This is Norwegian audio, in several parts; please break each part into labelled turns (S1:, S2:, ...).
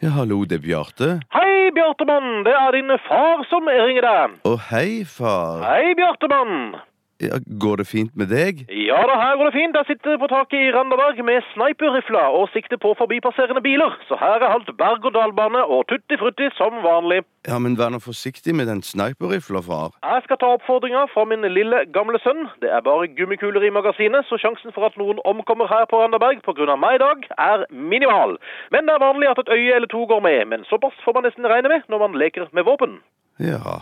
S1: Ja, hallo, det er Bjarte.
S2: Hei, Bjartemann, det er din far som ringer deg.
S1: Å, hei, far.
S2: Hei, Bjartemann.
S1: Ja, går det fint med deg?
S2: Ja da, her går det fint. Jeg sitter på taket i Randaberg med sniperrifla og sikter på forbipasserende biler. Så her er alt berg-og-dal-bane og tutti-frutti som vanlig.
S1: Ja, men vær nå forsiktig med den sniperrifla, far.
S2: Jeg skal ta oppfordringa fra min lille, gamle sønn. Det er bare gummikuler i magasinet, så sjansen for at noen omkommer her på Randaberg pga. meg i dag, er minimal. Men det er vanlig at et øye eller to går med. Men såpass får man nesten regne med når man leker med våpen.
S1: Ja.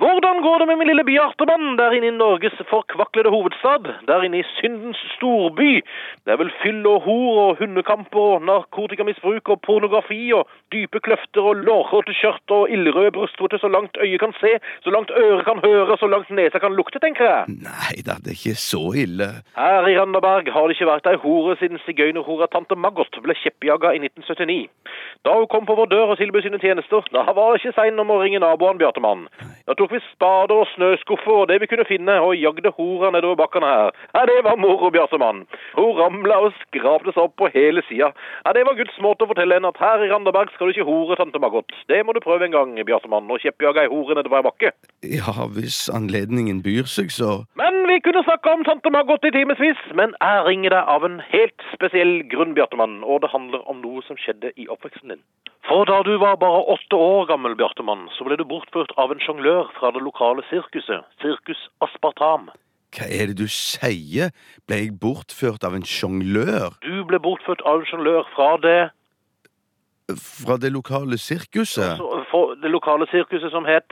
S2: Hvordan går det med min lille Bjartemann der inne i Norges forkvaklede hovedstad? Der inne i syndens storby? Det er vel fyll og hor og hundekamper og narkotikamisbruk og pornografi og dype kløfter og lårhårete skjørt og ildrøde brystvorter så langt øyet kan se, så langt øret kan høre, så langt nesa kan lukte, tenker jeg.
S1: Nei da, det er ikke så ille.
S2: Her i Randaberg har det ikke vært ei hore siden sigøynerhora tante Maggot ble kjeppjaga i 1979. Da hun kom på vår dør og tilbød sine tjenester, da var det ikke sein om å ringe naboen, Bjartemann. Da tok vi spader og snøskuffer og det vi kunne finne, og jagde hora nedover bakkene her. Ja, det var moro, Bjartemann. Hun ramla og skrapte seg opp på hele sida. Ja, det var Guds måte å fortelle henne at her i Randaberg skal du ikke hore tante Maggot. Det må du prøve en gang, Bjartemann, å kjeppjage ei hore nedover ei bakke.
S1: Ja, hvis anledningen byr seg, så
S2: Men vi kunne snakke om tante Margot i timevis. Men jeg ringer deg av en helt spesiell grunn, Bjartemann. Og det handler om noe som skjedde i oppveksten din. For da du var bare åtte år gammel, Bjartemann, så ble du bortført av en sjonglør fra det lokale sirkuset, Sirkus Aspartam.
S1: Hva er det du sier? Ble jeg bortført av en sjonglør
S2: Du ble bortført av en sjonglør fra det,
S1: fra det lokale sirkuset?
S2: så- altså, fra det lokale sirkuset som het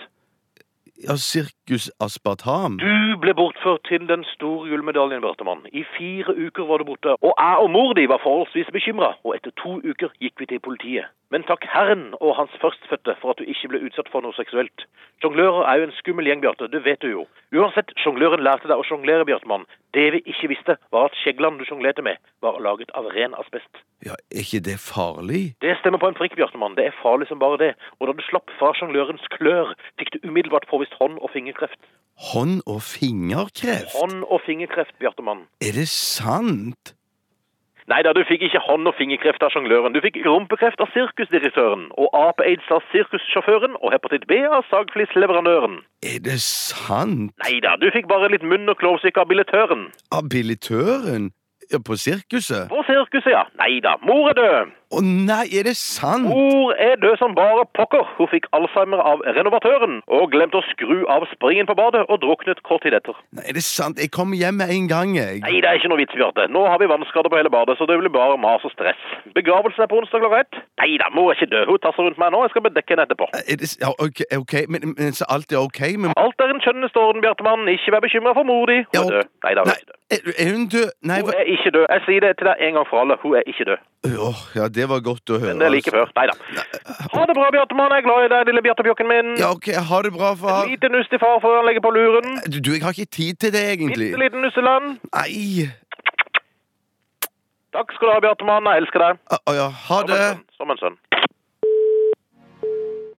S1: Ja, Sirkus Aspartam?
S2: Du ble bortført til den store gullmedaljen, Bjartemann. I fire uker var du borte, og jeg og mor di var forholdsvis bekymra, og etter to uker gikk vi til politiet. Men takk Herren og hans førstfødte for at du ikke ble utsatt for noe seksuelt. Sjonglører er jo en skummel gjeng, Bjarte, det vet du jo. Uansett, sjongløren lærte deg å sjonglere, Bjartemann. Det vi ikke visste, var at skjeglene du sjonglerte med, var laget av ren asbest.
S1: Ja, er ikke det farlig?
S2: Det stemmer på en prikk, Bjartemann. Det er farlig som bare det. Og da du slapp fra sjonglørens klør, fikk du umiddelbart påvist hånd- og fingerkreft.
S1: Hånd- og fingerkreft?
S2: Hånd- og fingerkreft, Bjartemann.
S1: Er det sant?
S2: Nei da, du fikk ikke hånd- og fingerkreft av sjongløren. Du fikk rumpekreft av sirkusdirektøren, og ape-aids av sirkussjåføren, og hepatitt B av sagflisleverandøren.
S1: Er det sant?
S2: Nei da, du fikk bare litt munn- og klovsyke av billettøren.
S1: Abilitøren? Ja, på sirkuset?
S2: På sirkuset, ja. Nei da, mor er død.
S1: Å nei, er det sant?
S2: Mor er død som bare pokker. Hun fikk alzheimer av renovatøren, og glemte å skru av springen på badet, og druknet kort tid etter.
S1: Nei, er det sant? Jeg kommer hjem med en gang, jeg.
S2: Nei, det er ikke noe vits, Bjarte. Nå har vi vannskader på hele badet, så det blir bare mas og stress. Begravelsen er på onsdag klokka ett. Nei da, mor er ikke død. Hun tasser rundt meg nå. Jeg skal bedekke henne etterpå.
S1: Er det, s- ja, ok, ok, men, men så alt er ok med
S2: Alt er en skjønnes orden, Bjartemann. Ikke vær bekymra for mor di. Hun
S1: Ja,
S2: er død. Nei da, hun er
S1: Nei,
S2: ikke død.
S1: er, er hun død? Nei,
S2: Hun
S1: hva
S2: er ikke død. Jeg sier det til deg en gang for alle. Hun er ikke død.
S1: Åh, ja, det var godt å høre.
S2: Men det er like
S1: altså.
S2: før. Nei da. Ha det bra, Bjartemann. Jeg er glad i deg, lille Bjartepjokken min.
S1: Ja, ok, ha det bra, far.
S2: Lite nuss til far før han legger på luren.
S1: Du, du, jeg har ikke tid til det, egentlig.
S2: Bitte liten nusseland.
S1: Nei.
S2: Takk skal du ha, Bjartemann. Jeg elsker deg.
S1: Å å ja, ha
S2: Som en
S1: det.
S2: sønn. Som en sønn.